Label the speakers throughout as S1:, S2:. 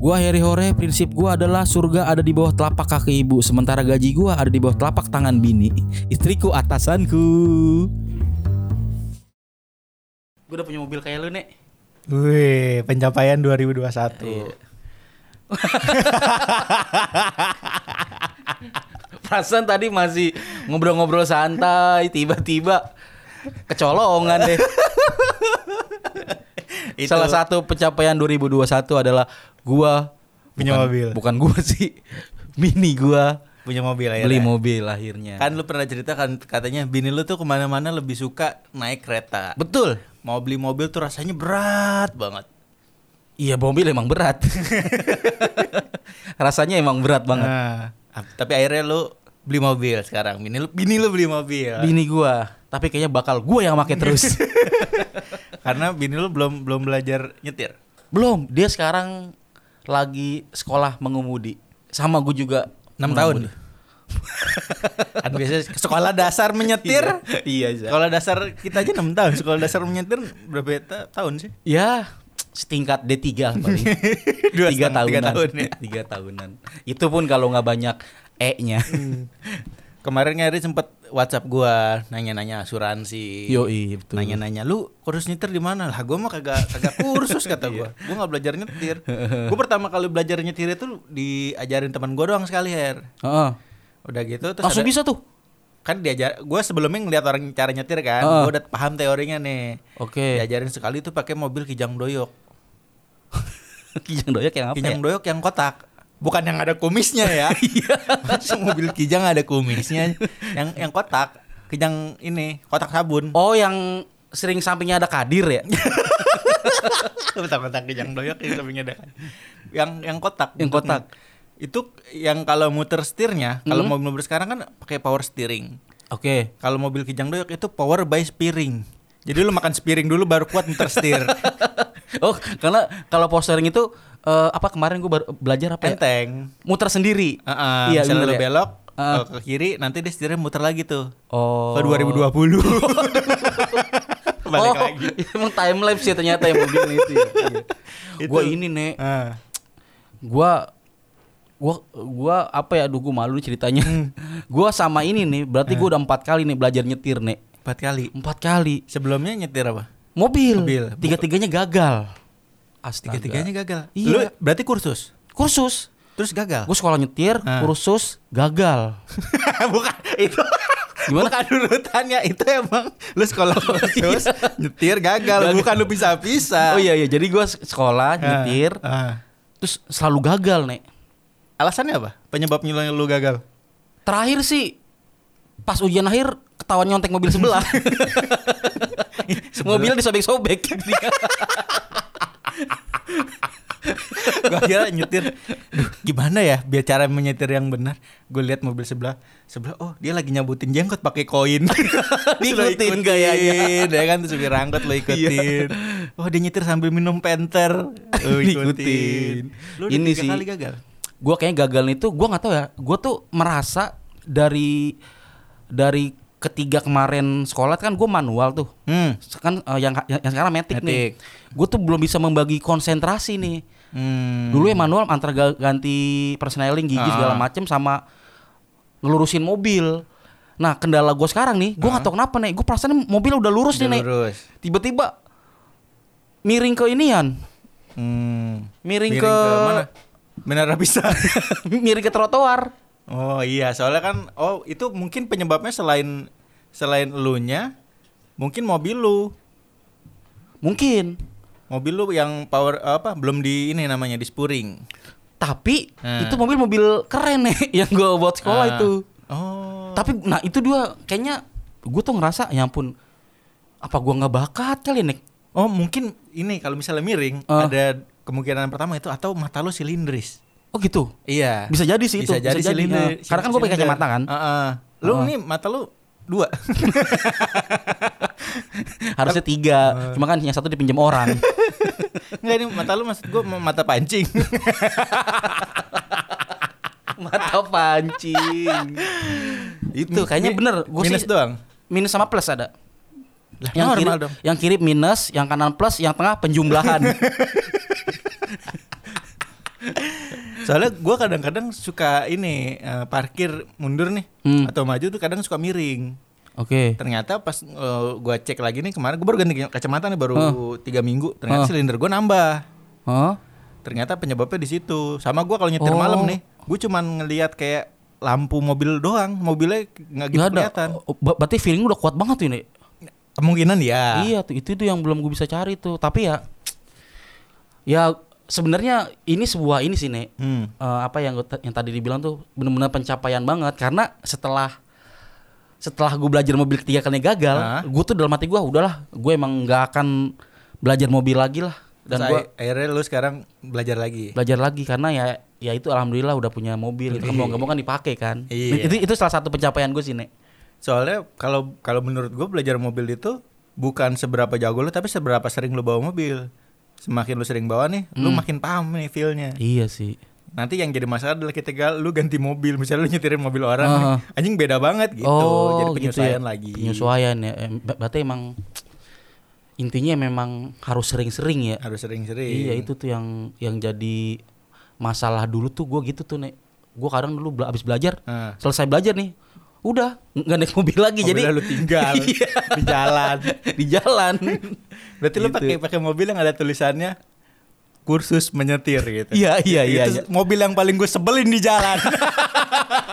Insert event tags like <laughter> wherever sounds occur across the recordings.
S1: Gua Heri Hore, prinsip gua adalah surga ada di bawah telapak kaki ibu, sementara gaji gua ada di bawah telapak tangan bini. Istriku atasanku. Gua udah punya mobil kayak lu, Nek.
S2: Wih, pencapaian 2021.
S1: Iya.
S2: <laughs>
S1: Perasaan tadi masih ngobrol-ngobrol santai, tiba-tiba kecolongan
S2: <laughs>
S1: deh. Salah satu pencapaian 2021 adalah gua
S2: Punya
S1: bukan-
S2: mobil.
S1: Bukan gua sih, <laughs> bini gua
S3: punya mobil akhirnya.
S1: beli mobil akhirnya.
S3: ya. Kan lu pernah cerita kan katanya bini lu tuh kemana-mana lebih suka naik kereta.
S1: betul.
S3: Mau beli mobil tuh rasanya berat banget.
S1: Iya mobil emang berat. <laughs> Rasanya emang berat banget.
S3: Nah, ap- tapi akhirnya lu beli mobil sekarang. Bini lu, bini lu beli mobil.
S1: Bini gua, tapi kayaknya bakal gua yang make
S3: <laughs>
S1: terus.
S3: Karena bini lu belum belum belajar nyetir.
S1: Belum, dia sekarang lagi sekolah mengemudi. Sama gua juga
S3: 6
S1: <laughs>
S3: tahun. kan biasanya sekolah dasar menyetir. <laughs>
S1: Iya, iya.
S3: Sekolah dasar kita aja 6 tahun. Sekolah dasar menyetir berapa ta- tahun sih?
S1: Ya, setingkat D3
S3: <laughs>
S1: paling.
S3: Dua
S1: tiga
S3: setengah, tiga
S1: tahunan.
S3: tahun ya.
S1: Tiga tahunan. Itu pun kalau nggak banyak E-nya.
S3: Hmm. Kemarin Ngeri sempet WhatsApp gua nanya-nanya asuransi.
S1: Yoi, betul.
S3: Nanya-nanya lu kursus nyetir di mana? Lah gua mah kagak
S1: <laughs>
S3: kagak kursus kata gua.
S1: Iya.
S3: Gua nggak belajar nyetir. gua pertama kali belajar nyetir itu diajarin teman gua doang sekali, Her.
S1: Heeh.
S3: Udah gitu terus
S1: Langsung
S3: ada-
S1: bisa tuh. <laughs>
S3: kan diajar gua sebelumnya ngeliat orang cara nyetir kan.
S1: Heeh.
S3: Gua udah paham teorinya nih.
S1: Oke.
S3: Diajarin sekali tuh pakai mobil kijang doyok.
S1: Kijang doyok yang apa
S3: kijang
S1: ya? Iya.
S3: doyok yang kotak. Bukan yang ada kumisnya
S1: <laughs>
S3: ya. Masa mobil kijang ada kumisnya. yang yang kotak. Kijang ini, kotak sabun.
S1: Oh, yang sering sampingnya ada kadir ya?
S3: <laughs> Bentar-bentar kijang doyok itu sampingnya ada kan. Yang yang kotak.
S1: Yang kotak.
S3: bentuknya. Itu yang kalau muter setirnya, kalau
S1: Hmm.
S3: mobil-mobil sekarang kan pakai power steering.
S1: Oke.
S3: Kalau mobil kijang doyok itu power by steering. Jadi lu makan spiring dulu baru kuat muter
S1: <laughs>
S3: setir.
S1: Oh, karena kalau postering itu eh, apa kemarin gue belajar apa? ya?
S3: Enteng.
S1: Muter sendiri.
S3: Eh, Heeh,
S1: iya,
S3: misalnya
S1: bener
S3: lu
S1: ya?
S3: belok
S1: Heeh.
S3: eh, ke kiri nanti dia setirnya muter lagi tuh.
S1: Oh.
S3: Ke 2020. <laughs> Balik
S1: oh,
S3: lagi.
S1: <laughs> Emang time lapse ya ternyata yang mobil itu. Ya. Iya.
S3: Itu.
S1: Gua ini nek,
S3: Ah.
S1: gua gua gua apa ya aduh gua malu nih ceritanya.
S3: Hmm.
S1: <laughs> gua sama ini nih, berarti gua udah empat kali nih belajar nyetir nek.
S3: Empat kali.
S1: Empat kali.
S3: Sebelumnya nyetir apa?
S1: Mobil.
S3: Mobil.
S1: Tiga-tiganya gagal. Astaga.
S3: Tiga-tiganya gagal.
S1: Iya.
S3: Lu berarti kursus.
S1: kursus.
S3: Terus gagal.
S1: Gua sekolah nyetir,
S3: Ah.
S1: kursus, gagal.
S3: <laughs> bukan itu
S1: <laughs> Gimana?
S3: bukan urutannya itu emang lu <laughs> sekolah khusus nyetir gagal
S1: Gagal.
S3: bukan lu bisa Ah. pisah
S1: Oh iya iya, jadi gua sekolah nyetir,
S3: Ah.
S1: terus selalu gagal nek.
S3: alasannya apa penyebabnya lu, lu gagal
S1: Terakhir sih pas ujian akhir ketahuan nyontek mobil
S3: <laughs>
S1: sebelah. Mobilnya disobek-sobek.
S3: <laughs> gua kira nyetir "Duh, gimana ya biar cara menyetir yang benar gue lihat mobil sebelah sebelah oh dia lagi nyabutin jenggot pakai koin <laughs>
S1: Diikutin
S3: Lu
S1: gayanya.
S3: ya kan tuh supir angkot lo ikutin oh dia nyetir sambil minum Oh, penter <laughs> Lu
S1: Diikutin.
S3: Lu udah
S1: Ini
S3: tiga
S1: sih.
S3: kali gagal
S1: gua kayaknya gagal itu gua nggak tahu ya. Gua tuh merasa dari dari ketiga kemarin sekolah kan gua manual tuh.
S3: hmm.
S1: Kan eh, yang, yang yang sekarang metik nih.
S3: Matic.
S1: Gue tuh belum bisa membagi konsentrasi nih.
S3: Hmm.
S1: Dulu ya manual antara ga- ganti persneling gigi
S3: Ah.
S1: segala macem sama ngelurusin mobil. Nah kendala gue sekarang nih, gue nggak tahu kenapa nih, gue perasaan mobil udah lurus
S3: Ah. Udah
S1: nih nih,
S3: lurus.
S1: tiba-tiba miring ke inian, <laughs>
S3: Hmm.
S1: Miring ke-
S3: mana? Menara bisa. <laughs>
S1: miring ke trotoar.
S3: oh iya, soalnya kan oh itu mungkin penyebabnya selain selain elunya mungkin mobil lu.
S1: Mungkin,
S3: Mobil lu yang power apa belum di ini namanya di spuring.
S1: tapi
S3: Hmm.
S1: itu mobil mobil keren nih <laughs> yang gue buat sekolah
S3: Ah.
S1: itu.
S3: Oh.
S1: Tapi nah itu dua kayaknya gue tuh ngerasa ya ampun apa gua nggak bakat kali nih.
S3: Oh, mungkin ini kalau misalnya miring
S1: Ah.
S3: ada kemungkinan pertama itu atau mata lu silindris.
S1: Oh gitu.
S3: Iya.
S1: Bisa jadi sih itu. Bisa jadi,
S3: silinder-
S1: eh. Karena kan gue pakai
S3: silinder.
S1: kacamata kan.
S3: Heeh. Ah, Lu
S1: Oh.
S3: nih mata lu dua. <laughs>
S1: Harusnya tiga.
S3: Ah.
S1: Cuma kan yang satu dipinjam
S3: <laughs>
S1: orang.
S3: Enggak ini mata lu maksud gua mata pancing.
S1: Mata pancing. <laughs> itu kayaknya
S3: Mi-
S1: bener. Gua
S3: minus
S1: sih-
S3: doang.
S1: Minus sama plus ada.
S3: Lah,
S1: Yang kiri,
S3: normal dong.
S1: yang kiri minus, yang kanan plus, yang tengah
S3: <laughs>
S1: penjumlahan.
S3: Soalnya gua kadang-kadang suka ini eh, parkir mundur nih
S1: Hmm.
S3: atau maju tuh kadang suka miring.
S1: Oke.
S3: Ternyata pas eh, gua cek lagi nih kemarin gua baru ganti kacamata nih baru
S1: Huh.
S3: tiga minggu. Ternyata
S1: Huh.
S3: silinder gua nambah.
S1: Hah?
S3: Ternyata penyebabnya di situ. Sama gua kalau nyetir
S1: Oh.
S3: malam nih, gua cuman ngelihat kayak lampu mobil doang. Mobilnya nggak gitu
S1: Nggak ada.
S3: kelihatan.
S1: Oh, ber- berarti feeling lu udah kuat banget ini.
S3: Kemungkinan ya.
S1: Iya tuh itu tuh yang belum gue bisa cari tuh. Tapi ya ya sebenarnya ini sebuah ini sih Nek. Eh,
S3: Hmm.
S1: apa yang gua- yang tadi dibilang tuh benar-benar pencapaian banget karena setelah setelah gue belajar mobil ketiga kali gagal,
S3: Hah?
S1: gue tuh dalam hati gue udahlah, gue emang nggak akan belajar mobil lagi lah dan
S3: Dan
S1: gue
S3: akhirnya lu sekarang belajar lagi.
S1: belajar lagi karena ya ya itu alhamdulillah udah punya mobil itu kan mau nggak mau kan dipakai kan
S3: Iya.
S1: itu itu salah satu pencapaian gue sih nek
S3: Soalnya kalau kalau menurut gue belajar mobil itu bukan seberapa jago lu tapi seberapa sering lu bawa mobil. Semakin lu sering bawa nih,
S1: Hmm.
S3: lu makin paham nih feel-nya.
S1: iya sih
S3: Nanti yang jadi masalah adalah ketika lu ganti mobil, misalnya lu nyetirin mobil orang,
S1: Ah.
S3: nih, anjing beda banget gitu. jadi
S1: gitu
S3: penyesuaian
S1: ya.
S3: lagi.
S1: penyesuaian ya Em, ber- berarti emang intinya memang harus sering-sering ya
S3: Harus sering-sering.
S1: Iya itu tuh yang yang jadi masalah dulu tuh gue gitu tuh nek. Gue kadang dulu bela- abis belajar,
S3: Ah.
S1: selesai belajar nih, udah nggak naik mobil lagi. jadi
S3: Mobilnya lu <laughs> tinggal
S1: <laughs> Iya,
S3: di jalan.
S1: di jalan.
S3: Berarti lu
S1: Gitu.
S3: pakai pakai mobil yang ada tulisannya kursus menyetir gitu.
S1: Iya, iya, iya,
S3: Itu
S1: iya.
S3: mobil yang paling gue sebelin di jalan.
S1: <laughs>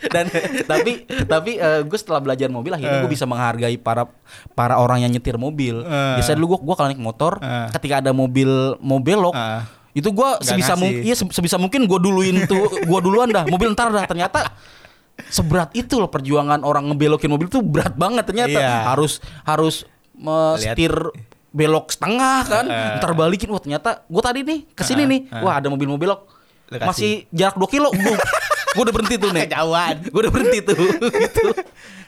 S1: Dan tapi tapi gue setelah belajar mobil akhirnya gue bisa menghargai para para orang yang nyetir mobil.
S3: Eh.
S1: Biasanya dulu gue gua kalau naik motor,
S3: Eh.
S1: ketika ada mobil mau belok,
S3: Ah.
S1: itu gue
S3: Nggak
S1: sebisa
S3: ngasih.
S1: mungkin, iya se- sebisa mungkin gue duluin tuh, gue duluan dah. Mobil ntar dah ternyata seberat itu loh perjuangan orang ngebelokin mobil tuh berat banget ternyata
S3: Iya.
S1: harus harus me-
S3: Lihat.
S1: setir belok setengah kan
S3: Eh.
S1: ntar balikin wah ternyata gue tadi nih kesini
S3: Eh,
S1: nih
S3: eh.
S1: wah ada mobil mau belok
S3: Lu kasih.
S1: masih jarak 2 kilo gue udah berhenti tuh nih <laughs>
S3: Kejauhan.
S1: gue udah berhenti tuh gitu.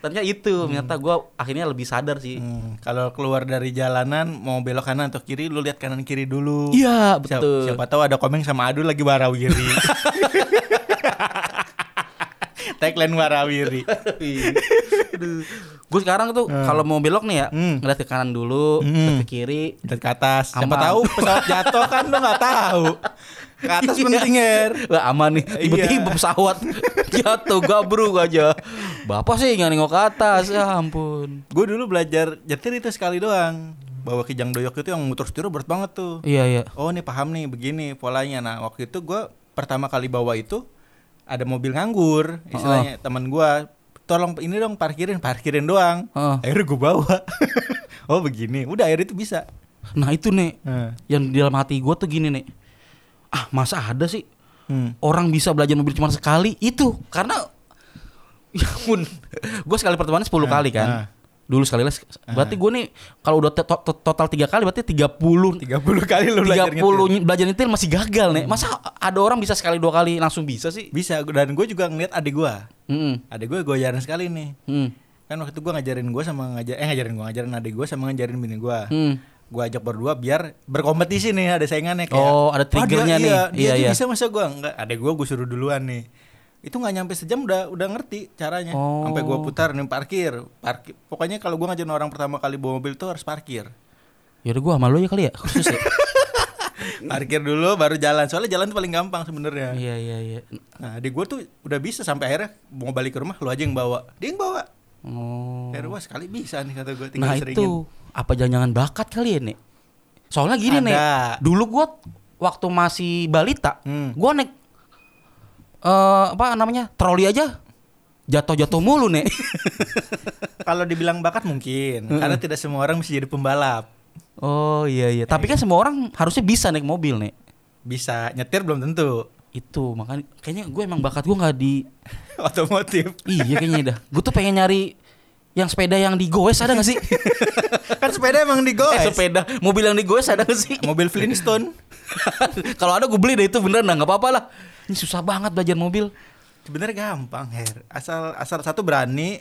S1: ternyata itu ternyata gue akhirnya lebih sadar sih
S3: Hmm, kalau keluar dari jalanan mau belok kanan atau kiri, lu lihat kanan kiri dulu.
S1: iya
S3: Siap-
S1: betul
S3: Siapa, tahu ada komeng sama Adu lagi
S1: <laughs>
S3: warawiri. Tagline warawiri.
S1: gue sekarang tuh kalau mau belok nih ya
S3: Hmm.
S1: ngeliat ke kanan dulu ngeliat ke kiri
S3: Dan ke atas. Siapa
S1: Aman.
S3: tahu pesawat jatuh kan lu nggak tahu. Ke atas
S1: <laughs> Iya.
S3: penting Her.
S1: Lah aman nih. Tiba-tiba
S3: Iya.
S1: pesawat <laughs> jatuh gabruk aja. Bapak sih nggak nengok ke atas. Ya ampun.
S3: Gue dulu belajar nyetir itu sekali doang. Bawa kijang doyok itu yang muter setir berat banget tuh.
S1: Iya iya.
S3: Oh nih paham nih begini polanya. Nah waktu itu gue pertama kali bawa itu ada mobil nganggur istilahnya teman gue tolong ini dong parkirin parkirin doang.
S1: Heeh.
S3: Akhirnya gue bawa. <laughs> oh begini. Udah akhirnya itu bisa.
S1: Nah itu nih
S3: Hmm.
S1: yang di dalam hati gue tuh gini nih. Ah masa ada sih
S3: Hmm.
S1: orang bisa belajar mobil cuma sekali itu karena ya ampun gue sekali pertemuan 10 kali
S3: ah.
S1: kan dulu sekali les berarti gue nih kalau udah to- to- total tiga kali berarti 30
S3: 30 kali lu belajar
S1: 30
S3: nyetir.
S1: nyi- belajar nyetir masih gagal nih masa ada orang bisa sekali dua kali langsung bisa sih
S3: Bisa dan gue juga ngeliat adik gue.
S1: Mm-mm.
S3: Adik gue gue jarang sekali nih.
S1: Hmm.
S3: Kan waktu itu gue ngajarin gue sama ngajar eh ngajarin gue ngajarin adik gue sama ngajarin bini gue.
S1: Hmm.
S3: Gue ajak berdua biar berkompetisi nih ada saingannya kayak
S1: Oh, ada
S3: "Wah, dia-
S1: triggernya nih."
S3: iya, dia
S1: Iya,
S3: aja
S1: iya.
S3: bisa masa gue enggak ada gue gue suruh duluan nih itu nggak nyampe sejam udah udah ngerti caranya
S1: Oh.
S3: sampai gue putar nih parkir parkir pokoknya kalau gue ngajarin orang pertama kali bawa mobil tuh harus parkir
S1: Yaudah gue sama lo ya kali ya khusus ya.
S3: parkir dulu baru jalan soalnya jalan tuh paling gampang sebenarnya
S1: <laughs> Iya iya iya.
S3: nah di gue tuh udah bisa sampai akhirnya mau balik ke rumah lu aja yang bawa dia yang bawa
S1: Oh.
S3: akhirnya wah sekali bisa nih kata gue tinggal
S1: Nah
S3: seringin.
S1: itu apa jangan-jangan bakat kali ya nek? Soalnya gini
S3: Ada.
S1: nek, dulu gue waktu masih balita,
S3: Hmm.
S1: gue naik eh apa namanya troli aja jatuh-jatuh mulu nek.
S3: kalau dibilang bakat mungkin karena tidak semua orang bisa jadi pembalap
S1: oh iya iya. Tapi kan semua orang harusnya bisa naik mobil nek.
S3: bisa nyetir belum tentu <laughs>
S1: Itu makanya kayaknya gue emang bakat gue nggak di
S3: otomotif
S1: iya kayaknya dah. Gue tuh pengen nyari yang sepeda yang digoes ada gak sih?
S3: <laughs> kan sepeda emang digoes
S1: eh, sepeda mobil yang digoes ada gak sih?
S3: mobil Flintstone
S1: <laughs> Kalau ada gue beli deh itu beneran dah nggak apa-apa lah. Ini susah banget belajar mobil.
S3: Sebenarnya gampang, Her. Asal asal satu berani,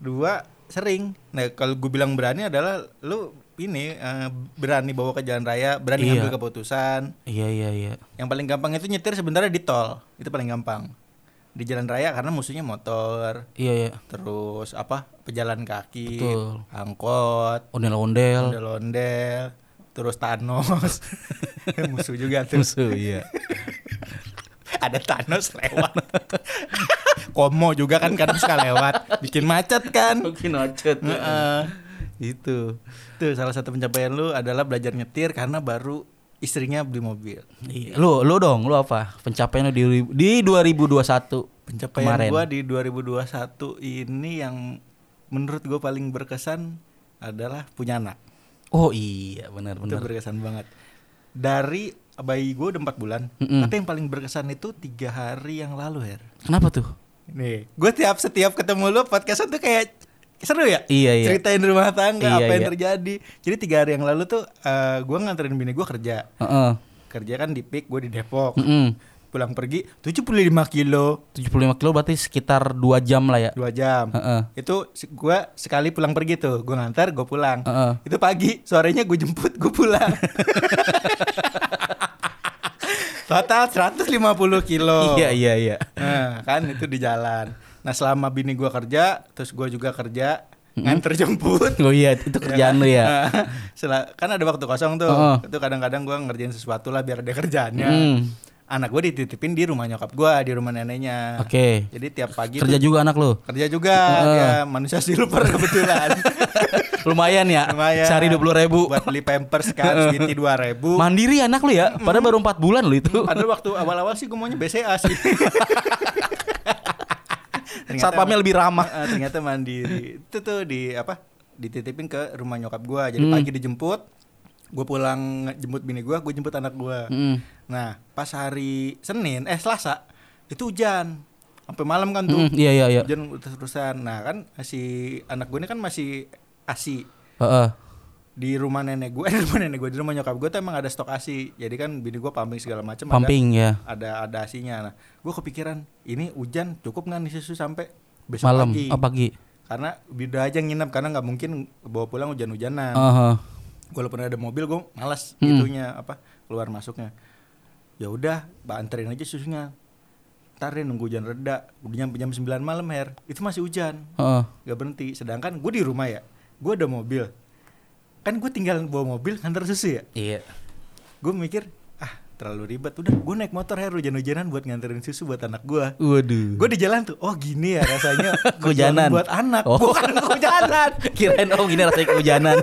S3: dua sering. Nah, kalau gue bilang berani adalah lu ini eh, berani bawa ke jalan raya, berani
S1: Iya.
S3: ambil keputusan.
S1: Iya iya iya.
S3: Yang paling gampang itu nyetir sebenarnya di tol. Itu paling gampang. Di jalan raya karena musuhnya motor,
S1: Iya iya.
S3: terus apa? pejalan kaki,
S1: Betul.
S3: angkot,
S1: Ondel-ondel.
S3: ondel-ondel, terus Thanos. <laughs> Musuh juga tuh.
S1: Musuh iya.
S3: <laughs> ada Thanos lewat. <laughs> Komo juga kan kadang suka lewat, bikin macet
S1: <laughs>
S3: kan.
S1: Mungkin macet.
S3: Heeh.
S1: Gitu.
S3: Itu. Tuh salah satu pencapaian lu adalah belajar nyetir karena baru istrinya beli mobil.
S1: Iya. Lu lu dong, lu apa? Pencapaian lu di di 2021
S3: Pencapaian
S1: kemarin.
S3: gua di 2021 ini yang menurut gua paling berkesan adalah punya anak.
S1: Oh iya, benar
S3: Itu
S1: benar.
S3: berkesan banget. Dari bayi gua udah 4 bulan,
S1: Mm-mm.
S3: tapi yang paling berkesan itu tiga hari yang lalu, Her.
S1: Kenapa tuh?
S3: Nih, gue tiap setiap ketemu lu podcast tuh kayak seru ya.
S1: Iya, iya.
S3: Ceritain rumah tangga
S1: Iya,
S3: apa yang
S1: iya.
S3: terjadi. Jadi tiga hari yang lalu tuh eh, gua nganterin bini gua kerja.
S1: Heeh. Hmm.
S3: Kerja kan di PIK, gue di Depok.
S1: Mm-mm.
S3: Pulang pergi 75 kilo
S1: 75 kilo berarti sekitar 2 jam lah ya.
S3: dua jam.
S1: Heeh.
S3: Itu se- gua sekali pulang pergi tuh, gua nganter, gue pulang.
S1: Heeh.
S3: Itu pagi, sorenya gue jemput, gue
S1: <laughs>
S3: pulang. Total 150 kilo.
S1: Iya iya iya.
S3: Nah, kan itu di jalan. Nah, selama bini gua kerja, terus gua juga kerja, nganter jemput.
S1: <laughs> Oh iya, itu kerjaan lu ya.
S3: Nah, sela- kan ada waktu kosong tuh.
S1: Heeh.
S3: Itu kadang-kadang gua ngerjain sesuatu lah biar ada kerjaannya.
S1: Mm.
S3: Anak gua dititipin di rumah nyokap gua, di rumah neneknya.
S1: Oke.
S3: Jadi tiap pagi
S1: Kerja
S3: tuh-
S1: juga anak lu.
S3: kerja juga dia manusia silver
S1: <laughs>
S3: kebetulan.
S1: Lumayan ya.
S3: Lumayan.
S1: Sehari 20 ribu.
S3: buat beli pampers kan segitu 2000.
S1: Mandiri anak lu ya. Padahal baru 4 bulan lu itu. <laughs>
S3: Padahal waktu awal-awal sih gue maunya BCA sih. Ternyata-
S1: Satpamnya lebih ramah.
S3: Eh, ternyata mandiri. Itu tuh di apa? Dititipin ke rumah nyokap gua. Jadi
S1: Hmm.
S3: pagi dijemput, gue pulang jemput bini gua, gue jemput anak gua.
S1: Mm.
S3: Nah, pas hari Senin eh Selasa itu hujan. Sampai malam kan tuh.
S1: Mm, iya iya iya.
S3: Hujan terus-terusan. Nah, kan si anak gue ini kan masih ASI
S1: Heeh.
S3: di rumah nenek gue, <laughs> di rumah nenek gue, di rumah nyokap gue tuh emang ada stok ASI. Jadi kan bini gue pumping segala macam ada-
S1: Pumping ya.
S3: ada ada asinya. Nah, gue kepikiran ini hujan cukup nggak nih susu sampai besok
S1: Malam,
S3: pagi?
S1: oh, pagi.
S3: Karena beda aja nginep karena nggak mungkin bawa pulang hujan-hujanan.
S1: Heeh.
S3: Walaupun ada mobil gue
S1: Ah.
S3: malas
S1: Hmm.
S3: gitunya apa keluar masuknya. Ya udah, Mbak anterin aja susunya. Ntar deh nunggu hujan reda, udah nyampe jam 9 malam her, itu masih hujan,
S1: Heeh.
S3: nggak berhenti. Sedangkan gue di rumah ya, gue ada mobil, kan gue tinggal bawa mobil antar susu ya
S1: Iya.
S3: gue mikir ah terlalu ribet udah gue naik motor ya hujan-hujanan buat nganterin susu buat anak gue
S1: Waduh.
S3: gue di jalan tuh oh gini ya rasanya
S1: <laughs> Kehujanan.
S3: buat anak
S1: Oh. <laughs>
S3: bukan kehujanan
S1: Kirain oh gini rasanya
S3: <laughs>
S1: kehujanan.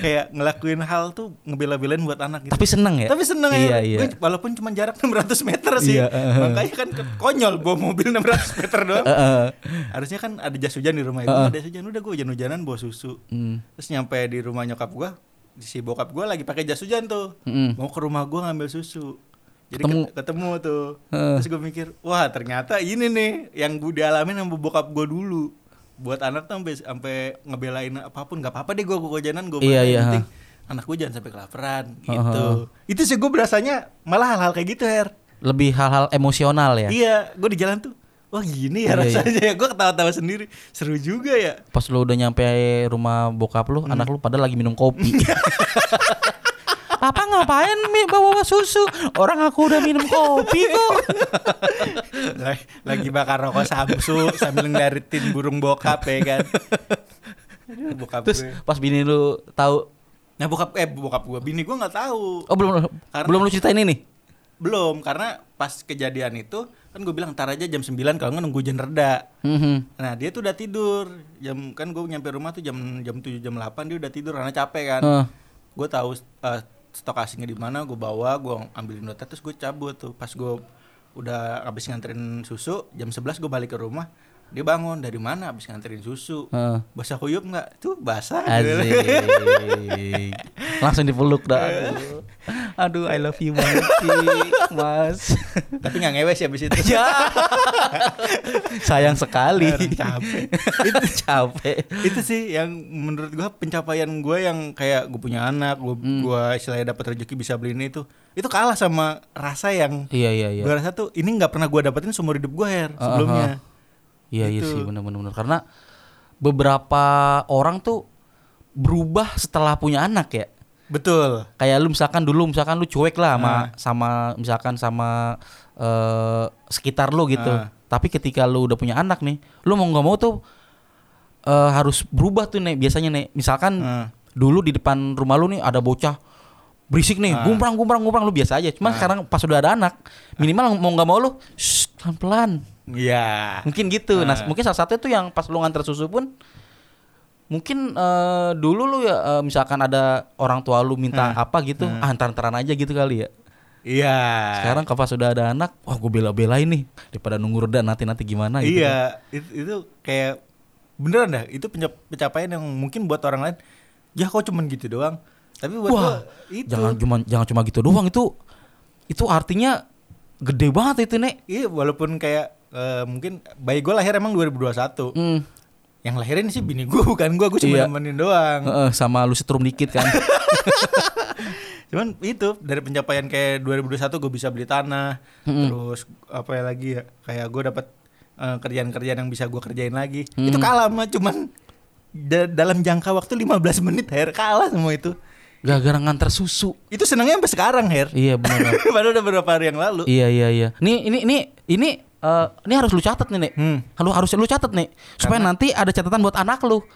S3: kayak ngelakuin hal tuh ngebela-belain buat anak gitu
S1: Tapi seneng ya.
S3: tapi seneng
S1: iya,
S3: ya
S1: Iya
S3: Gua walaupun cuma jarak <laughs> 600 meter sih
S1: Iya, eh.
S3: makanya kan ke- konyol bawa mobil 600 meter doang
S1: Heeh.
S3: harusnya kan ada jas hujan di rumah ya Gua nggak ada jas hujan udah gue hujan-hujanan bawa susu
S1: Hmm.
S3: terus nyampe di rumah nyokap gue si bokap gue lagi pakai jas hujan tuh
S1: Mm-mm.
S3: mau ke rumah gue ngambil susu jadi
S1: Hmm. Ketemu.
S3: ketemu, ketemu tuh
S1: Heeh.
S3: terus gue mikir wah ternyata ini nih yang gue dialamin sama bokap gue dulu buat anak tuh sampai sampai ngebelain apapun nggak apa-apa deh gue hujanan gue
S1: Iya, iya,
S3: penting anak gue jangan sampai kelaparan gitu
S1: Heeh.
S3: itu sih gue berasanya malah hal-hal kayak gitu her
S1: Lebih hal-hal emosional ya.
S3: iya gue di jalan tuh wah gini ya
S1: Iya, iya.
S3: rasanya ya gue ketawa-tawa sendiri seru juga ya
S1: Pas lu udah nyampe rumah bokap lu, anak lu pada lagi minum
S3: <laughs>
S1: kopi. Papa ngapain mi bawa susu? Orang aku udah minum kopi
S3: <laughs>
S1: kok.
S3: lagi, lagi bakar rokok samsu sambil ngeliatin burung bokap ya kan Aduh, bokap
S1: Terus
S3: gue
S1: pas bini lu tahu,
S3: nah bokap eh bokap gue bini gue nggak tahu
S1: oh belum
S3: Karena-
S1: belum lu ceritain ini.
S3: belum karena pas kejadian itu kan gue bilang ntar aja jam 9 kalau nggak nunggu hujan reda
S1: Mhm.
S3: nah dia tuh udah tidur jam kan gue nyampe rumah tuh jam jam 7 jam 8 dia udah tidur karena capek kan
S1: Heeh.
S3: gue tahu eh, stok asingnya di mana gue bawa gue ambilin dota terus gue cabut tuh pas gue udah habis nganterin susu jam 11 gue balik ke rumah Dia bangun dari mana abis nganterin susu.
S1: Heeh.
S3: Basah kuyup nggak? Tuh basah.
S1: Asik. Langsung dipeluk dah. <laughs> Aduh, I love you banget sih, <laughs> Mas.
S3: <laughs> Tapi nggak ngewe sih abis itu.
S1: <laughs> ya. Sayang sekali.
S3: Aduh,
S1: <laughs>
S3: capek.
S1: Itu capek.
S3: itu sih yang menurut gua pencapaian gua yang kayak gua punya anak, gua,
S1: Hmm.
S3: gua istilahnya dapat rezeki bisa beli ini itu. Itu kalah sama rasa yang
S1: Iya, iya, iya.
S3: gua rasa tuh ini nggak pernah gua dapetin seumur hidup gua Her sebelumnya.
S1: Iya iya
S3: Gitu.
S1: sih benar-benar karena beberapa orang tuh berubah setelah punya anak ya.
S3: Betul.
S1: Kayak lu misalkan dulu misalkan lu cuek lah sama
S3: Ah.
S1: sama misalkan sama eh, sekitar lu gitu.
S3: Ah.
S1: Tapi ketika lu udah punya anak nih, lu mau nggak mau tuh eh, harus berubah tuh nih biasanya nih. Misalkan
S3: Ah.
S1: dulu di depan rumah lu nih ada bocah berisik nih,
S3: Ah.
S1: gumprang gumprang gumprang lu biasa aja. Cuma sekarang pas udah ada anak, minimal mau nggak mau lu "Shh, pelan-pelan
S3: Iya.
S1: mungkin gitu nah
S3: Ah.
S1: mungkin salah satu itu yang pas lu nganter susu pun mungkin eh, dulu lu ya eh, misalkan ada orang tua lu minta
S3: Hmm.
S1: apa gitu ah, antar-antaran aja gitu kali ya
S3: Iya.
S1: sekarang kalau pas sudah ada anak wah gue bela-belain nih daripada nunggu reda nanti nanti gimana gitu
S3: Iya, itu, itu kayak beneran dah. Itu penca- pencapaian yang mungkin buat orang lain, ya kok cuman gitu doang. Tapi buat gua,
S1: wah
S3: itu
S1: jangan cuma jangan cuma gitu doang itu itu artinya gede banget itu nek
S3: Iya, walaupun kayak eh, mungkin bayi gue lahir emang 2021.
S1: Hmm.
S3: Yang lahirin sih bini gue <laughs> bukan gue, gue cuma
S1: Iya.
S3: nemenin doang.
S1: Heeh, sama lu setrum dikit
S3: <laughs>
S1: kan
S3: Cuman itu dari pencapaian kayak 2021 gue bisa beli tanah,
S1: Hmm.
S3: terus apa ya lagi ya kayak gue dapat eh, kerjaan-kerjaan yang bisa gue kerjain lagi.
S1: Hmm.
S3: Itu kalah mah cuman da- dalam jangka waktu 15 menit Her kalah semua itu.
S1: gara-gara nganter susu
S3: Itu senangnya sampai sekarang Her.
S1: iya
S3: <laughs>
S1: benar
S3: Padahal udah beberapa hari yang lalu.
S1: Iya iya iya. Nih ini ini ini eh, ini harus lu catat nih, Nek.
S3: Hmm.
S1: Lu harus lu catat nih supaya nanti ada catatan buat anak lu.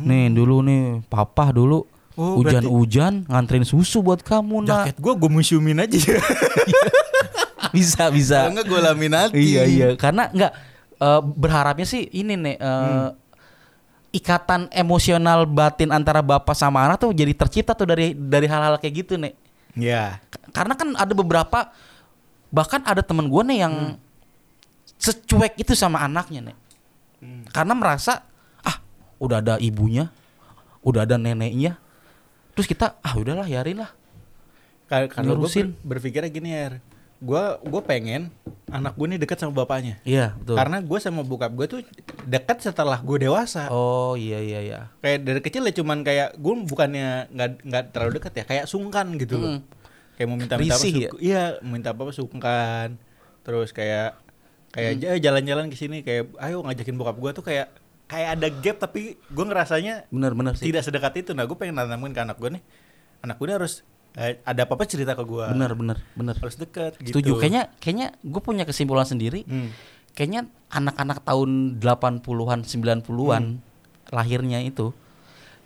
S1: Nih dulu nih papa dulu
S3: Hmm. Oh, berarti-
S1: hujan-hujan nganterin susu buat kamu, Nak.
S3: Jaket gue gue museumin aja.
S1: <laughs> bisa bisa.
S3: Kalau enggak gue laminati.
S1: Iya iya, karena nggak eh, berharapnya sih ini nih eh,
S3: Hmm.
S1: ikatan emosional batin antara bapak sama anak tuh jadi tercipta tuh dari dari hal-hal kayak gitu, Nek.
S3: Iya.
S1: karena kan ada beberapa bahkan ada temen gue nih yang secuek itu sama anaknya nih
S3: Hmm.
S1: karena merasa ah udah ada ibunya udah ada neneknya terus kita ah udahlah yarin lah
S3: Kar- Karena gue
S1: Ngurusin.
S3: berpikirnya gini Her. Gue gue pengen anak gue nih dekat sama bapaknya.
S1: iya betul
S3: Karena gue sama bokap gue tuh dekat setelah gue dewasa.
S1: oh iya iya iya
S3: Kayak dari kecil ya cuman kayak gue bukannya nggak nggak terlalu dekat ya, kayak sungkan gitu loh. Kayak mau minta-minta apa
S1: Risih ya?
S3: sungkan. Iya, minta apa-apa sungkan. Terus kayak kayak
S1: Mm.
S3: aja jalan-jalan ke sini kayak ayo ngajakin bokap gue tuh kayak kayak ada gap tapi gue ngerasanya
S1: bener bener sih
S3: tidak sedekat itu. Nah, gue pengen nanamin ke anak gue nih. Anak gue nih harus eh, ada apa-apa cerita ke gue.
S1: bener bener bener
S3: Harus dekat gitu.
S1: setuju kayaknya kayaknya gue punya kesimpulan sendiri
S3: Hmm.
S1: kayaknya anak-anak tahun 80-an 90-an
S3: Hmm.
S1: lahirnya itu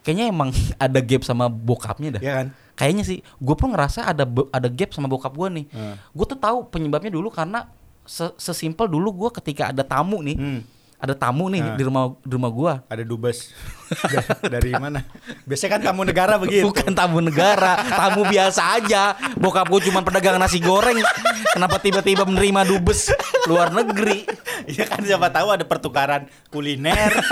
S1: kayaknya emang <laughs> ada gap sama bokapnya dah
S3: Iya kan?
S1: kayaknya sih gue pun ngerasa ada be- ada gap sama bokap gue nih
S3: Hmm.
S1: gue tuh tahu penyebabnya dulu karena se- sesimpel dulu gue ketika ada tamu nih
S3: Hmm.
S1: ada tamu nih
S3: Hmm.
S1: di rumah di rumah gue
S3: Ada dubes <laughs> Da- dari mana? Biasanya kan tamu negara begitu.
S1: Bukan tamu negara, tamu biasa aja. Bokap gue cuma pedagang nasi goreng. Kenapa tiba-tiba menerima dubes luar negeri?
S3: Iya kan siapa tahu ada pertukaran kuliner.
S1: <laughs>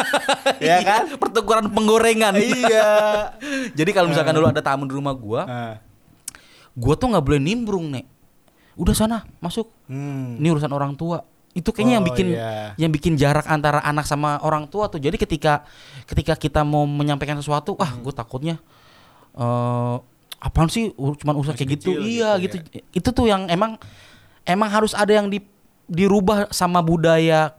S1: Iya.
S3: ya kan?
S1: Pertukaran penggorengan.
S3: iya.
S1: <laughs>
S3: Nah.
S1: Jadi kalau misalkan dulu ada tamu di rumah gua,
S3: Ah.
S1: gua tuh nggak boleh nimbrung, Nek. Udah sana, masuk.
S3: Hmm.
S1: Ini urusan orang tua. Itu kayaknya yang
S3: Oh,
S1: bikin
S3: iya.
S1: yang bikin jarak antara anak sama orang tua tuh. Jadi ketika ketika kita mau menyampaikan sesuatu, wah,
S3: Hmm.
S1: gue takutnya eh apaan sih ur- cuman urusan
S3: Masih
S1: kayak gitu.
S3: kecil
S1: Iya,
S3: gitu
S1: gitu. Itu tuh yang emang emang harus ada yang di dirubah sama budaya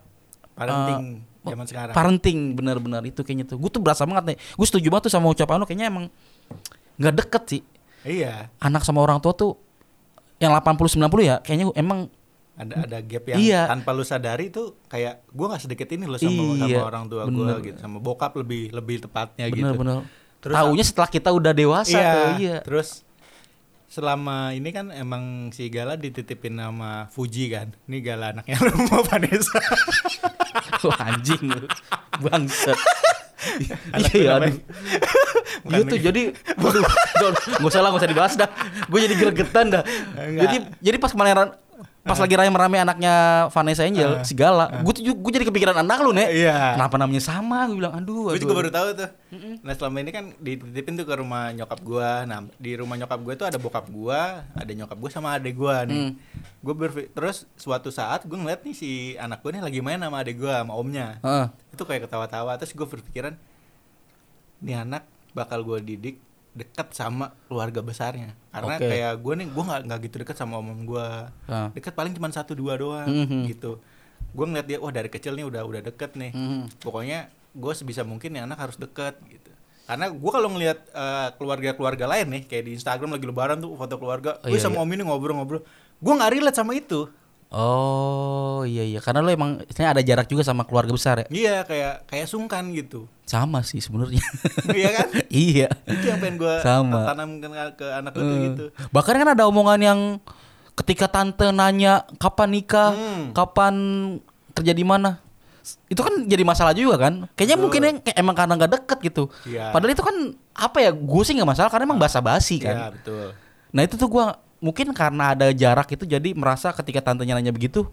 S3: Parenting
S1: eh,
S3: zaman sekarang.
S1: Parenting benar-benar itu kayaknya tuh. Gue tuh berasa banget nih. Gue setuju banget tuh sama ucapan lo kayaknya emang nggak deket sih
S3: iya.
S1: anak sama orang tua tuh yang 80 90 ya kayaknya emang
S3: Ada ada gap yang
S1: Iya.
S3: tanpa lu sadari tuh kayak gua nggak sedikit ini loh sama, sama
S1: Iya,
S3: orang tua
S1: bener.
S3: gua gitu, sama bokap lebih lebih tepatnya gitu.
S1: benar-benar
S3: Terus-
S1: taunya setelah kita udah dewasa
S3: Iya.
S1: tuh iya. <laughs>
S3: Terus selama ini kan emang si Gala dititipin nama Fuji kan. Ini Gala anaknya <laughs> rumah Vanessa.
S1: Wah, anjing lu. Bangsat.
S3: <laughs> Anak
S1: Iya,
S3: lu
S1: aduh.
S3: namanya-
S1: Iya tuh jadi waduh, John, gak usah lah, gak usah dibahas dah. Gue jadi gregetan dah.
S3: Enggak.
S1: Jadi jadi pas kemarin Pas lagi rame-rame anaknya Vanessa Angel,
S3: Ah.
S1: segala. Gue tuh gue jadi kepikiran anak lu, Nek.
S3: Iya.
S1: Kenapa namanya sama? Gue bilang, aduh. aduh,
S3: Gue juga baru
S1: aduh.
S3: tahu tuh. Nah selama ini kan dititipin tuh ke rumah nyokap gua Nah di rumah nyokap gua tuh ada bokap gua ada nyokap gua sama adek gua
S1: Mm.
S3: nih. Gue terus suatu saat gue ngeliat nih si anak gue nih lagi main sama adek gua sama omnya.
S1: Heeh.
S3: Itu kayak ketawa-tawa. Terus gue berpikiran, nih anak bakal gua didik dekat sama keluarga besarnya. Karena
S1: Oke.
S3: kayak gue nih gue nggak nggak gitu dekat sama om gua
S1: Ah.
S3: Dekat paling cuma satu dua doang
S1: Mhm.
S3: gitu. Gue ngeliat dia, wah dari kecil nih udah udah deket nih
S1: Mhm.
S3: pokoknya gue sebisa mungkin ya anak harus deket gitu karena gue kalau ngelihat eh, keluarga-keluarga lain nih kayak di Instagram lagi lebaran tuh foto keluarga
S1: Oh,
S3: gue
S1: iya,
S3: sama om ini ngobrol-ngobrol gue nggak relate sama itu
S1: Oh iya iya karena lo emang istilahnya ada jarak juga sama keluarga besar ya.
S3: iya kayak kayak sungkan gitu
S1: Sama sih sebenarnya.
S3: <laughs> Iya kan?
S1: iya.
S3: itu yang pengen gue
S1: Sama.
S3: tanamkan ke, ke anak gue tuh gitu
S1: Bahkan kan ada omongan yang ketika tante nanya kapan nikah,
S3: Hmm.
S1: kapan kerja di mana, itu kan jadi masalah juga kan. Kayaknya mungkin yang kayak emang karena nggak deket gitu.
S3: Iya.
S1: Padahal itu kan apa ya? Gue sih nggak masalah karena emang basa-basi kan.
S3: iya betul
S1: Nah itu tuh gue mungkin karena ada jarak itu jadi merasa ketika tantenya nanya begitu,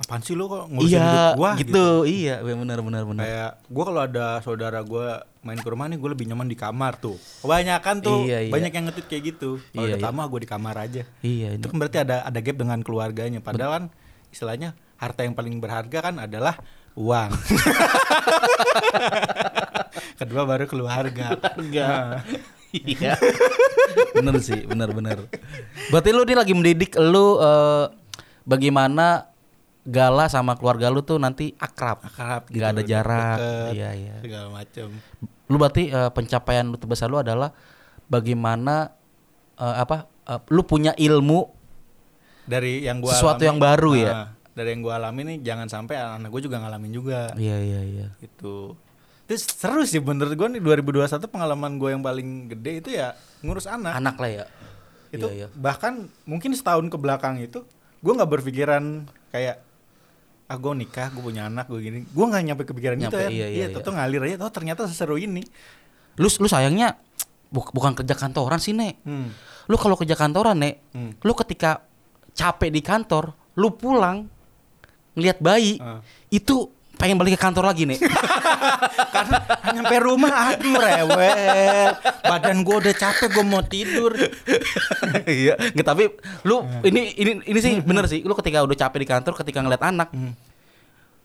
S3: apaan sih lo kok ngurusin
S1: iya
S3: hidup gue
S1: gitu, iya benar benar benar.
S3: kayak gue kalau ada saudara gue main ke rumah nih gue lebih nyaman di kamar tuh kebanyakan tuh
S1: Iya, iya.
S3: banyak yang ngetweet kayak gitu kalau
S1: Iya,
S3: udah
S1: iya.
S3: tamat gue di kamar aja
S1: Iya,
S3: itu
S1: ini-
S3: kan berarti ada ada gap dengan keluarganya padahal kan istilahnya harta yang paling berharga kan adalah
S1: <laughs>
S3: uang kedua baru keluarga Nah,
S1: Enggak. Iya. bener sih, bener bener. Berarti lu nih lagi mendidik lu eh, bagaimana gala sama keluarga lu tuh nanti akrab. gitu,
S3: akrab
S1: Nggak ada jarak. Iya, iya.
S3: segala macam
S1: Lu berarti eh, pencapaian lu terbesar lu adalah bagaimana eh, apa? eh, lu punya ilmu
S3: dari yang gua
S1: Sesuatu
S3: alami-
S1: yang baru ya?
S3: Nah, dari yang gua alami nih jangan sampai anak gue juga ngalamin juga
S1: Iya iya iya.
S3: gitu terus seru sih menurut gue nih 2021 pengalaman gue yang paling gede itu ya ngurus anak,
S1: Anak lah ya.
S3: itu
S1: Iya, iya.
S3: bahkan mungkin setahun ke belakang itu gue nggak berpikiran kayak ah gue nikah gue punya anak gue gini gue nggak nyampe kepikiran gitu
S1: Nyampe,
S3: ya
S1: iya, iya,
S3: toto ngalir aja oh ternyata seseru ini
S1: Lu lu sayangnya buk- bukan kerja kantoran sih, Nek.
S3: hmm.
S1: lu kalau kerja kantoran nek
S3: Hmm.
S1: lu ketika capek di kantor lu pulang ngelihat bayi
S3: Ah.
S1: itu pengen balik ke kantor lagi nek
S3: Ah, nyampe rumah aduh rewel badan gue udah capek gue mau tidur
S1: <laughs> iya Nggak, tapi lu ini ini ini sih bener sih lu ketika udah capek di kantor ketika ngeliat anak
S3: Hmm.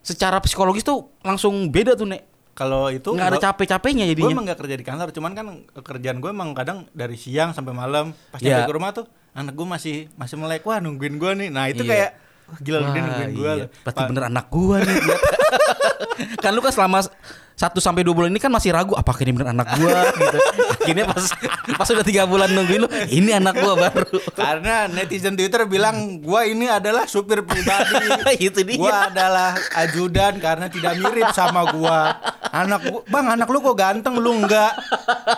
S1: secara psikologis tuh langsung beda tuh nek
S3: kalau itu
S1: nggak ada
S3: nggak-
S1: capek-capeknya
S3: Gue
S1: jadinya
S3: emang gak kerja di kantor, cuman kan kerjaan gue emang kadang dari siang sampai malam pas
S1: Iya.
S3: nyampe ke rumah tuh anak gue masih masih melek wah nungguin gue nih. Nah itu
S1: Iya.
S3: kayak "Wah, gila lu dia
S1: Wah,
S3: nungguin gue.
S1: iya. Berarti bener anak gua nih. <laughs> kan lu kan selama 1 sampai 2 bulan ini kan masih ragu apakah ini bener anak gua gitu. Akhirnya pas pas udah 3 bulan nungguin lu, ini anak gua baru.
S3: Karena netizen Twitter bilang gue ini adalah supir pribadi.
S1: <laughs> Itu dia.
S3: Gue adalah ajudan karena tidak mirip sama gue. Anak gua, bang anak lu kok ganteng lu enggak?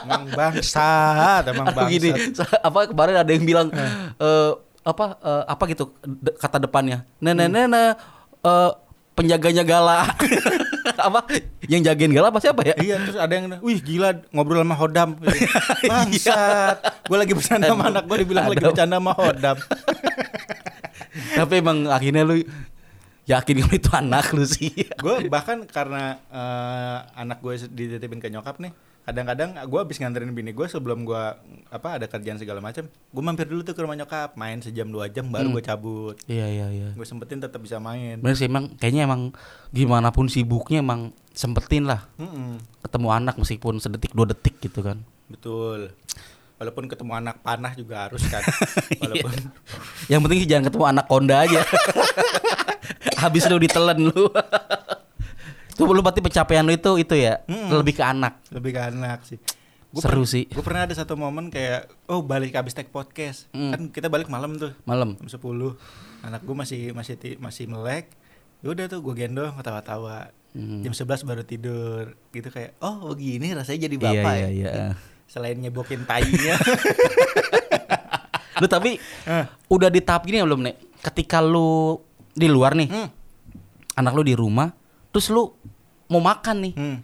S3: Emang bangsat, emang
S1: Aduh, gini,
S3: bangsat.
S1: sa- apa kemarin ada yang bilang eh, apa eh, apa gitu de- kata depannya. Nah, nah, nah, nah, eh, penjaganya gala. <laughs> apa yang jagain gala apa siapa ya?
S3: Iya terus ada yang Wih gila ngobrol sama Hodam Bangsat Gue lagi bercanda sama anak gue Dibilang lagi
S1: Adam.
S3: bercanda sama Hodam
S1: Tapi emang akhirnya lu yakin kalau itu anak lu sih.
S3: Gue bahkan karena eh, Anak gue dititipin ke nyokap nih Kadang-kadang gue abis nganterin bini gue Sebelum gue apa ada kerjaan segala macam Gue mampir dulu tuh ke rumah nyokap Main sejam dua jam baru gue cabut
S1: Iya iya iya.
S3: Gue sempetin tetap bisa main
S1: Bener sih emang kayaknya emang gimana pun sibuknya emang sempetin lah
S3: Mm-mm,
S1: ketemu anak meskipun sedetik dua detik gitu kan.
S3: Betul Walaupun ketemu anak panah juga harus kan Walaupun
S1: Yang penting sih jangan ketemu anak konda aja. <laughs> Habis lu ditelen lu. <laughs> Tuh lu berarti pencapaian lu itu itu ya
S3: Mm-mm.
S1: lebih ke anak.
S3: lebih ke anak sih
S1: Seru sih.
S3: gue pernah ada satu momen kayak oh balik abis tag podcast
S1: Hmm.
S3: kan kita balik malam tuh
S1: Malam.
S3: jam 10 anak gue masih masih ti- masih melek yaudah tuh gue gendong ketawa-tawa
S1: Hmm.
S3: jam 11 baru tidur gitu kayak oh begini rasanya jadi
S1: Iya
S3: bapak
S1: iya
S3: ya
S1: iya.
S3: selain nyebokin tainya <laughs>
S1: Lu tapi
S3: Eh.
S1: udah di tahap gini belum, Nek? Ketika lu di luar nih,
S3: Hmm.
S1: anak lu di rumah, terus lu mau makan nih.
S3: Hmm.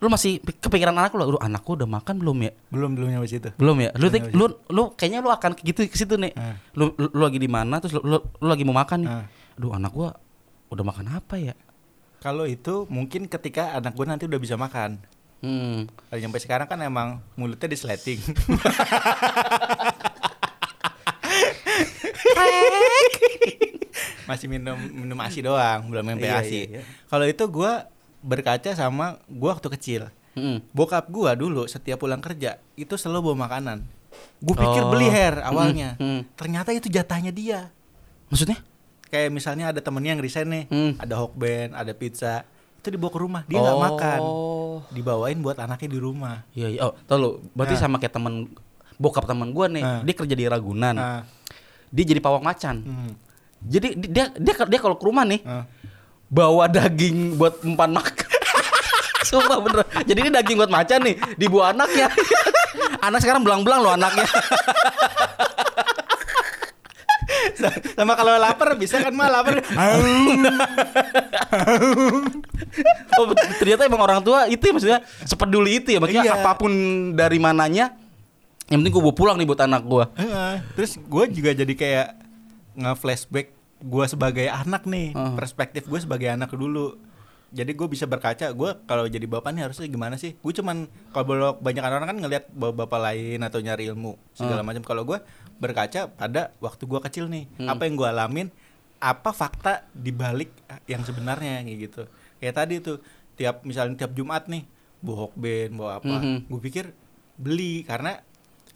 S1: lu masih kepikiran anak lu, lu anakku udah makan belum ya?
S3: belum belum nyampe situ
S1: Belum ya? Lu
S3: Belum
S1: tik-
S3: nyampe
S1: lu, lu kayaknya lu akan ke gitu ke situ nih.
S3: Iya, Ah.
S1: Lu, lu, lu lagi di mana terus lu, lu, lu lagi mau makan nih.
S3: Ah.
S1: Aduh, anak gua udah makan apa ya?
S3: kalau itu mungkin ketika anak gue nanti udah bisa makan
S1: Hmm.
S3: kalau nyampe sekarang kan emang mulutnya disleting masih minum minum asi doang belum minum
S1: Iya,
S3: asi
S1: iya, iya.
S3: kalau itu gue berkaca sama gue waktu kecil
S1: Mm-mm.
S3: bokap gue dulu setiap pulang kerja itu selalu bawa makanan gue pikir
S1: Oh.
S3: beli hair awalnya
S1: Mm-mm, mm.
S3: ternyata itu jatahnya dia
S1: Maksudnya?
S3: kayak misalnya ada temennya yang resign nih
S1: Hmm.
S3: ada hokben ada pizza itu dibawa ke rumah dia nggak
S1: Oh.
S3: makan dibawain buat anaknya di rumah
S1: Iya, iya. Oh, tau lu, berarti
S3: Ah.
S1: sama kayak temen bokap teman gua nih,
S3: Ah.
S1: dia kerja di Ragunan.
S3: Ah.
S1: Dia jadi pawang macan.
S3: Hmm.
S1: Jadi di- dia dia dia kalau ke rumah nih
S3: Ah.
S1: bawa daging buat umpan makan. <laughs> Sumpah bener. Jadi ini daging buat macan nih dibawa anaknya. <laughs> Anak sekarang belang-belang loh anaknya.
S3: sama kalau lapar bisa kan mah lapar
S1: Oh, bet- ternyata emang orang tua itu ya maksudnya sepeduli itu ya maksudnya
S3: Iya.
S1: apapun dari mananya yang penting gue bawa pulang nih buat anak gue.
S3: Heeh. Ah. terus gue juga jadi kayak nge flashback gue sebagai anak nih
S1: Heeh.
S3: perspektif gue sebagai anak dulu jadi gue bisa berkaca gue kalau jadi bapak nih harusnya gimana sih gue cuman kalau banyak orang kan ngelihat bapak, bapak lain atau nyari ilmu segala macam kalau gue berkaca pada waktu gue kecil nih apa yang gue alamin apa fakta dibalik yang sebenarnya kayak gitu kayak tadi tuh tiap misalnya tiap Jumat nih bohok band bawa apa
S1: Mhm.
S3: gue pikir beli karena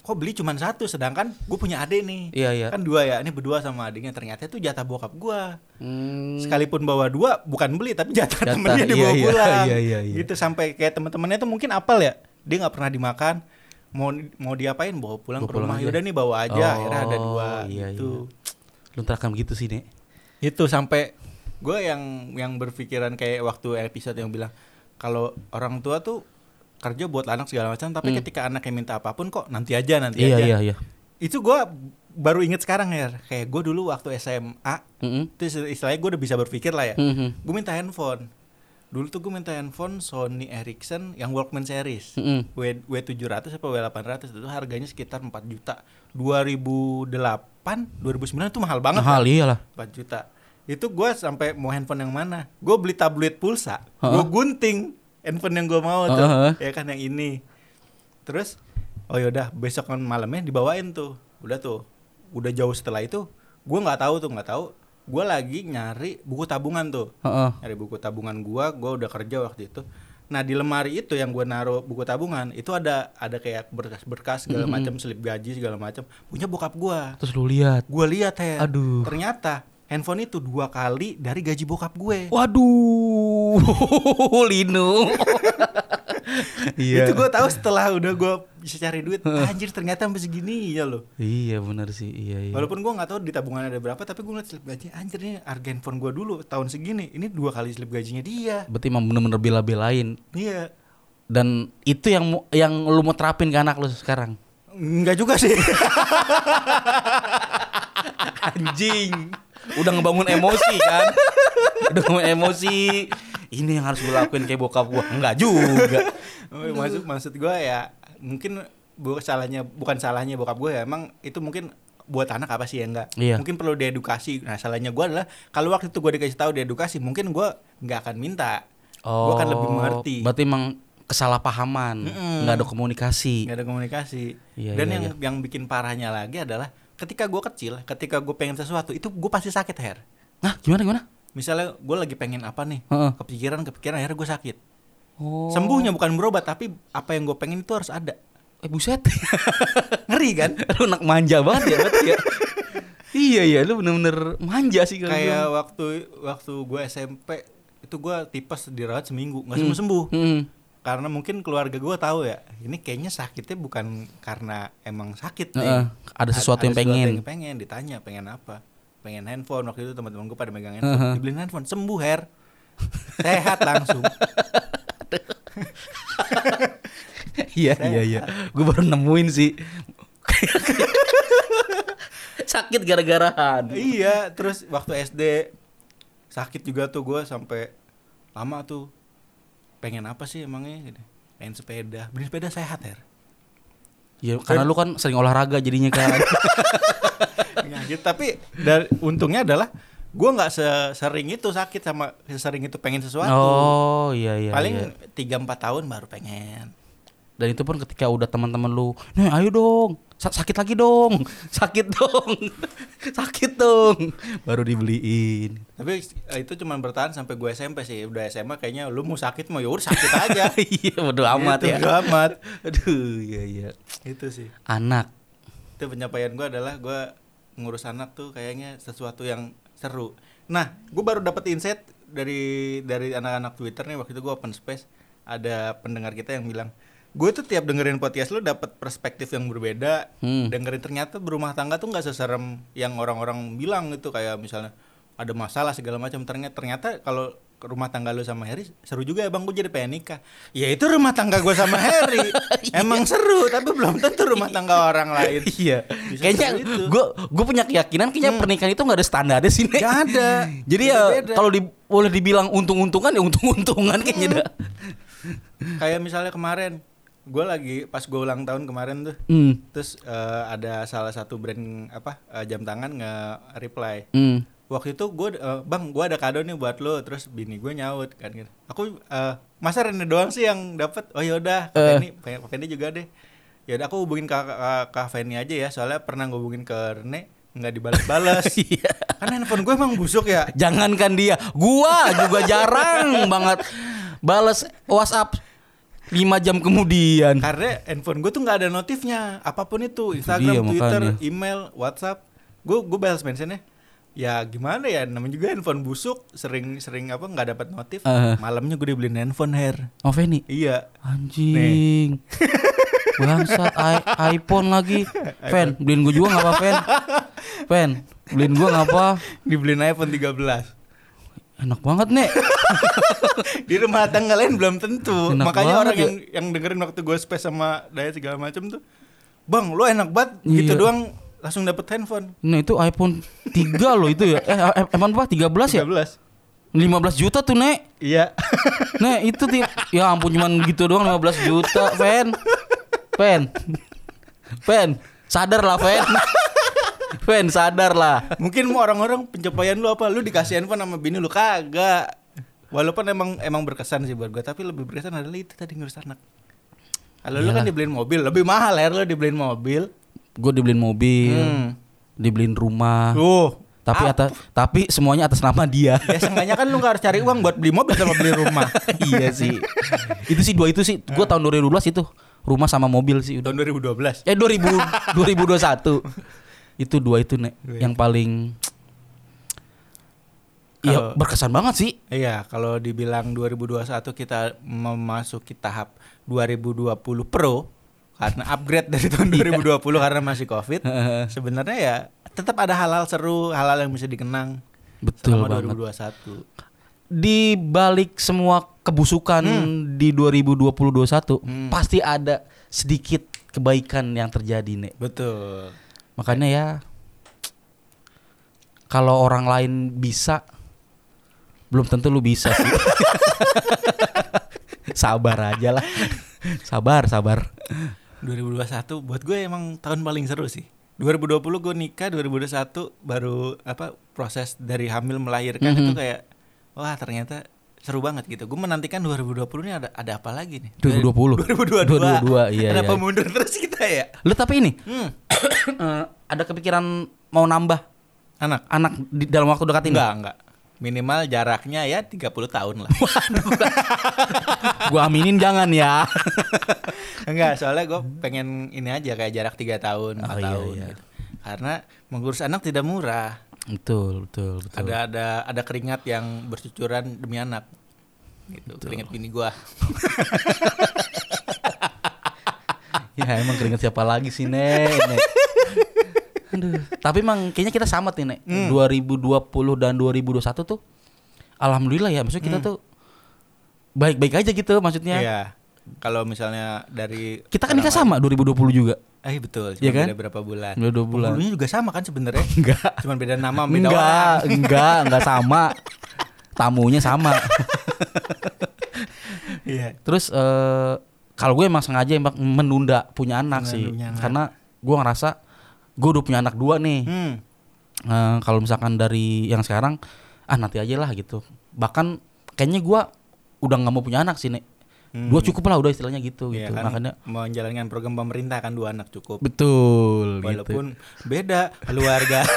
S3: kok beli cuma satu sedangkan gue punya adik nih
S1: Iya, iya.
S3: kan dua ya ini berdua sama adiknya ternyata itu jatah bokap gua
S1: Hmm.
S3: sekalipun bawa dua bukan beli tapi jatah,
S1: Jatah,
S3: temennya
S1: iya,
S3: dibawa
S1: iya,
S3: pulang
S1: <laughs> iya, iya, iya.
S3: gitu sampai kayak teman-temannya tuh mungkin apel ya dia nggak pernah dimakan mau mau diapain bawa pulang
S1: Bawa
S3: ke
S1: pulang
S3: rumah
S1: aja.
S3: yaudah nih bawa aja akhirnya ada
S1: Oh,
S3: dua
S1: iya,
S3: gitu
S1: Lu ntar akan begitu sih nek.
S3: itu sampai gue yang yang berpikiran kayak waktu episode yang bilang kalau orang tua tuh kerja buat anak segala macam tapi
S1: Hmm.
S3: ketika anaknya minta apapun kok nanti aja nanti
S1: Iya
S3: aja
S1: iya iya.
S3: itu gue baru inget sekarang ya kayak gue dulu waktu SMA
S1: Mm-mm.
S3: itu istilah- istilahnya gue udah bisa berpikir lah ya
S1: Mm-mm.
S3: gue minta handphone dulu tuh gue minta handphone Sony Ericsson yang Walkman series
S1: Mm-mm.
S3: W W700 apa W800 itu harganya sekitar 4 juta 2008 2009 itu mahal banget
S1: Mahal iyalah.
S3: 4 juta itu gue sampai mau handphone yang mana gue beli tablet pulsa
S1: Heeh.
S3: gue gunting handphone yang gue mau tuh
S1: Heeh.
S3: ya kan yang ini terus oh yaudah besok kan malamnya dibawain tuh udah tuh udah jauh setelah itu gue nggak tahu tuh nggak tahu gue lagi nyari buku tabungan tuh
S1: Heeh.
S3: nyari buku tabungan gua gua udah kerja waktu itu nah di lemari itu yang gua naruh buku tabungan itu ada ada kayak berkas-berkas segala macam slip gaji segala macam punya bokap gua
S1: Terus lu lihat.
S3: gua lihat ya
S1: Aduh.
S3: ternyata handphone itu dua kali dari gaji bokap gue
S1: Waduh, <laughs> Lino. iya.
S3: itu gua tahu setelah udah gua bisa cari duit anjir ternyata sampai segini ya loh
S1: Iya benar sih. Iya iya.
S3: Walaupun gua nggak tahu di tabungan ada berapa, tapi gua ngeliat slip gaji anjir ini harga handphone gua dulu tahun segini, ini dua kali slip gajinya dia.
S1: Berarti emang bener-bener bela-belain
S3: Iya,
S1: dan itu yang mu- yang lu mau terapin ke anak lu sekarang.
S3: nggak juga sih. <laughs>
S1: Anjing. Udah ngebangun emosi kan? Udah ngebangun emosi. Ini yang harus gue lakuin kayak bokap gua. Enggak juga.
S3: Oh, maksud maksud gue ya mungkin bu salahnya bukan salahnya bokap gue ya emang itu mungkin buat anak apa sih ya enggak
S1: Iya.
S3: mungkin perlu diedukasi nah salahnya gue adalah kalau waktu itu gue dikasih tahu diedukasi mungkin gue nggak akan minta gue
S1: kan
S3: akan lebih mengerti
S1: Oh, Berarti emang kesalahpahaman,
S3: Mm-mm.
S1: nggak ada komunikasi.
S3: nggak ada komunikasi
S1: Iya,
S3: dan
S1: iya,
S3: yang yang bikin parahnya lagi adalah ketika gue kecil ketika gue pengen sesuatu itu gue pasti sakit her
S1: Nah, gimana gimana?
S3: misalnya gue lagi pengen apa nih
S1: Heeh.
S3: kepikiran kepikiran akhirnya gue sakit
S1: Oh.
S3: sembuhnya bukan berobat tapi apa yang gue pengen itu harus ada
S1: Eh buset. <laughs>
S3: ngeri kan
S1: lu anak manja banget ya, berarti ya. iya iya, lu bener-bener manja sih kalau
S3: kayak waktu waktu gue SMP itu gue tipes dirawat seminggu nggak
S1: Hmm.
S3: sembuh sembuh
S1: bilang. Mm-mm. <laughs>
S3: karena mungkin keluarga gue tahu ya ini kayaknya sakitnya bukan karena emang sakit nih
S1: Heeh, ada
S3: Ad-
S1: sesuatu yang pengen.
S3: yang pengen ditanya pengen apa pengen handphone waktu itu teman-teman gue pada megang
S1: Heeh.
S3: handphone dibeliin handphone sembuh her sehat
S1: <laughs>
S3: langsung
S1: Iya iya iya. Gue baru nemuin sih. <laughs> Sakit gara-garaan.
S3: iya terus waktu SD sakit juga tuh gue sampai lama tuh pengen apa sih emangnya gitu. main sepeda beli sepeda sehat ya
S1: Ya,
S3: Eh,
S1: karena lu kan sering olahraga jadinya
S3: <laughs>
S1: kan.
S3: gitu tapi dari, untungnya adalah gue nggak sesering itu sakit sama sesering itu pengen sesuatu
S1: oh iya iya. iya.
S3: paling tiga empat tahun baru pengen
S1: Dan itu pun ketika udah teman-teman lu, "Nih, ayo dong. Sa- sakit lagi dong. <laughs> Sakit dong. <laughs> sakit dong." Baru dibeliin. <laughs>
S3: tapi eh, itu cuma bertahan sampai gue SMP sih udah SMA kayaknya lu mau sakit mau yaudah sakit aja
S1: <laughs> iya, bodo amat
S3: Gitu,
S1: ya.
S3: bodo amat.
S1: <laughs> Aduh, iya iya.
S3: itu Gitu sih
S1: Anak.
S3: itu pencapaian gue adalah gue ngurus anak tuh kayaknya sesuatu yang seru nah gue baru dapet insight dari dari anak-anak twitter nih waktu itu gue open space ada pendengar kita yang bilang gue tuh tiap dengerin podcast lu dapet perspektif yang berbeda
S1: Hmm.
S3: dengerin ternyata berumah tangga tuh nggak seserem yang orang-orang bilang gitu kayak misalnya ada masalah segala macam ternyata ternyata kalau rumah tangga lu sama Harry seru juga ya bang gue jadi pengen nikah ya itu rumah tangga gue sama
S1: <laughs>
S3: Harry emang seru tapi belum tentu rumah tangga orang lain
S1: Iya.
S3: Bisa
S1: kayaknya
S3: seperti itu. Hmm.
S1: gue gue punya keyakinan kayaknya pernikahan itu nggak ada standarnya sih. Nek.
S3: Nggak ada.
S1: Jadi ya
S3: Beda-beda.
S1: kalau di- boleh dibilang untung-untungan ya untung-untungan kayaknya dah.
S3: kayak misalnya kemarin gue lagi pas gue ulang tahun kemarin tuh
S1: Hmm.
S3: terus eh, ada salah satu brand apa eh, jam tangan nge reply
S1: Hmm.
S3: waktu itu gue bang gue ada kado nih buat lo terus bini gue nyaut kan gitu aku eh, masa Rene doang sih yang dapat oh yaudah Kak
S1: Eh.
S3: Feni Fe- Kak Feni juga deh yaudah aku hubungin kak kak, Kak Feni aja ya soalnya pernah gue hubungin ke Rene nggak dibalas-balas
S1: <laughs> Iya.
S3: kan handphone gue emang busuk ya
S1: Jangankan dia, gua juga <laughs> jarang banget balas WhatsApp 5 jam kemudian.
S3: Karena handphone gue tuh nggak ada notifnya apapun itu
S1: dia,
S3: Instagram, Twitter,
S1: makanya.
S3: email, WhatsApp. Gue gue balas mentionnya. Ya gimana ya namanya juga handphone busuk sering-sering apa nggak dapat notif.
S1: Eh.
S3: Malamnya gue dibeliin handphone hair.
S1: Oh Feni,
S3: Iya.
S1: anjing. <laughs> Bangsat i- iPhone lagi. Fen, beliin gua juga nggak apa Fen? Fen, beliin gua nggak apa?
S3: Dibeliin iPhone 13.
S1: Enak banget nek.
S3: Di rumah tangga lain belum tentu.
S1: Enak
S3: Makanya
S1: banget
S3: orang
S1: ya.
S3: yang yang dengerin waktu gue space sama daya segala macem tuh. Bang, lu enak banget
S1: Iya.
S3: gitu doang langsung dapet handphone.
S1: Nah itu iPhone 3 loh itu ya. Eh i- iPhone berapa? 13 ya?
S3: 13.
S1: 15 juta tuh nek. <laughs>
S3: Iya.
S1: Nek itu ti- ya ampun cuman gitu doang 15 juta, Fen. Fen. Fen, sadar lah, Fen. Fen, sadar lah.
S3: Mungkin mau orang-orang pencapaian lu apa? Lu dikasih handphone sama bini lu kagak. Walaupun emang emang berkesan sih buat gue, tapi lebih berkesan adalah itu tadi ngurus anak. Kalau lu
S1: Iya.
S3: kan dibeliin mobil, lebih mahal ya lu dibeliin mobil.
S1: Gue dibeliin mobil,
S3: Hmm. Oh. Ah.
S1: dibeliin rumah.
S3: Tuh.
S1: Tapi atas tapi semuanya atas nama dia.
S3: Ya seenggaknya kan lu gak harus cari uang buat beli mobil sama beli rumah.
S1: <laughs> iya sih. Itu sih dua itu sih. Gue tahun 2012 itu rumah sama mobil sih udah.
S3: Tahun 2012.
S1: Eh 2000 2021. itu dua itu, Nek,
S3: Dua
S1: yang paling Iya,
S3: Kalau-
S1: berkesan banget sih.
S3: Iya, kalau dibilang 2021 kita memasuki tahap 2020 Pro karena upgrade dari tahun
S1: Iya.
S3: 2020 karena masih Covid. Sebenarnya ya tetap ada hal-hal seru, hal-hal yang bisa dikenang
S1: Betul
S3: selama
S1: banget.
S3: 2021.
S1: di balik semua kebusukan
S3: Hmm.
S1: di 2020-2021 pasti ada sedikit kebaikan yang terjadi nek
S3: Betul.
S1: makanya ya kalau orang lain bisa belum tentu lu bisa sih <laughs> sabar aja lah sabar sabar
S3: 2021 buat gue emang tahun paling seru sih. 2020 gue nikah, 2021 baru apa proses dari hamil melahirkan
S1: Mhm.
S3: itu kayak wah ternyata seru banget gitu. Gue menantikan 2020 ini ada ada apa lagi nih?
S1: 2020.
S3: 2022. <laughs>
S1: 2022, iya,
S3: Kenapa
S1: iya.
S3: mundur terus kita ya?
S1: lu tapi ini <coughs>
S3: Hmm.
S1: eh, ada kepikiran mau nambah
S3: Anak.
S1: anak di dalam waktu dekat ini
S3: Enggak, enggak. Minimal jaraknya ya 30 tahun lah.
S1: gua aminin jangan ya
S3: <laughs>
S1: <laughs>
S3: Enggak, soalnya gue pengen ini aja kayak jarak 3 tahun, 4
S1: Oh, iya,
S3: tahun
S1: iya.
S3: gitu. Karena mengurus anak tidak murah.
S1: betul betul betul
S3: ada ada ada keringat yang bercucuran demi anak gitu keringat bini gua
S1: Ya emang keringet siapa lagi sih Nek, Nek. Aduh. Tapi emang kayaknya kita sama nih Nek
S3: Hmm.
S1: 2020 dan 2021 tuh Alhamdulillah ya Maksudnya kita tuh Baik-baik aja gitu maksudnya
S3: Hmm. iya kalau misalnya dari
S1: Kita kan nikah sama 2020 juga
S3: eh betul
S1: Iya
S3: cuma
S1: kan?
S3: beda berapa bulan
S1: Beda dua bulan.
S3: Penghulunya juga sama kan sebenarnya
S1: <laughs> Enggak
S3: cuman beda nama Oh, beda
S1: Enggak
S3: orang ya.
S1: Enggak Enggak
S3: <laughs>
S1: sama Tamunya sama
S3: iya
S1: Terus eh kalau gue emang sengaja emang menunda punya anak sih
S3: Menunda anak.
S1: karena gue ngerasa gue udah punya anak dua nih
S3: Hmm.
S1: Eh, kalau misalkan dari yang sekarang ah nanti aja lah gitu bahkan kayaknya gue udah nggak mau punya anak sih nek dua cukup lah udah istilahnya gitu
S3: Hmm. Iya
S1: gitu
S3: kan,
S1: makanya
S3: menjalankan program pemerintah kan dua anak cukup.
S1: betul gitu.
S3: Walaupun beda keluarga.
S1: <laughs>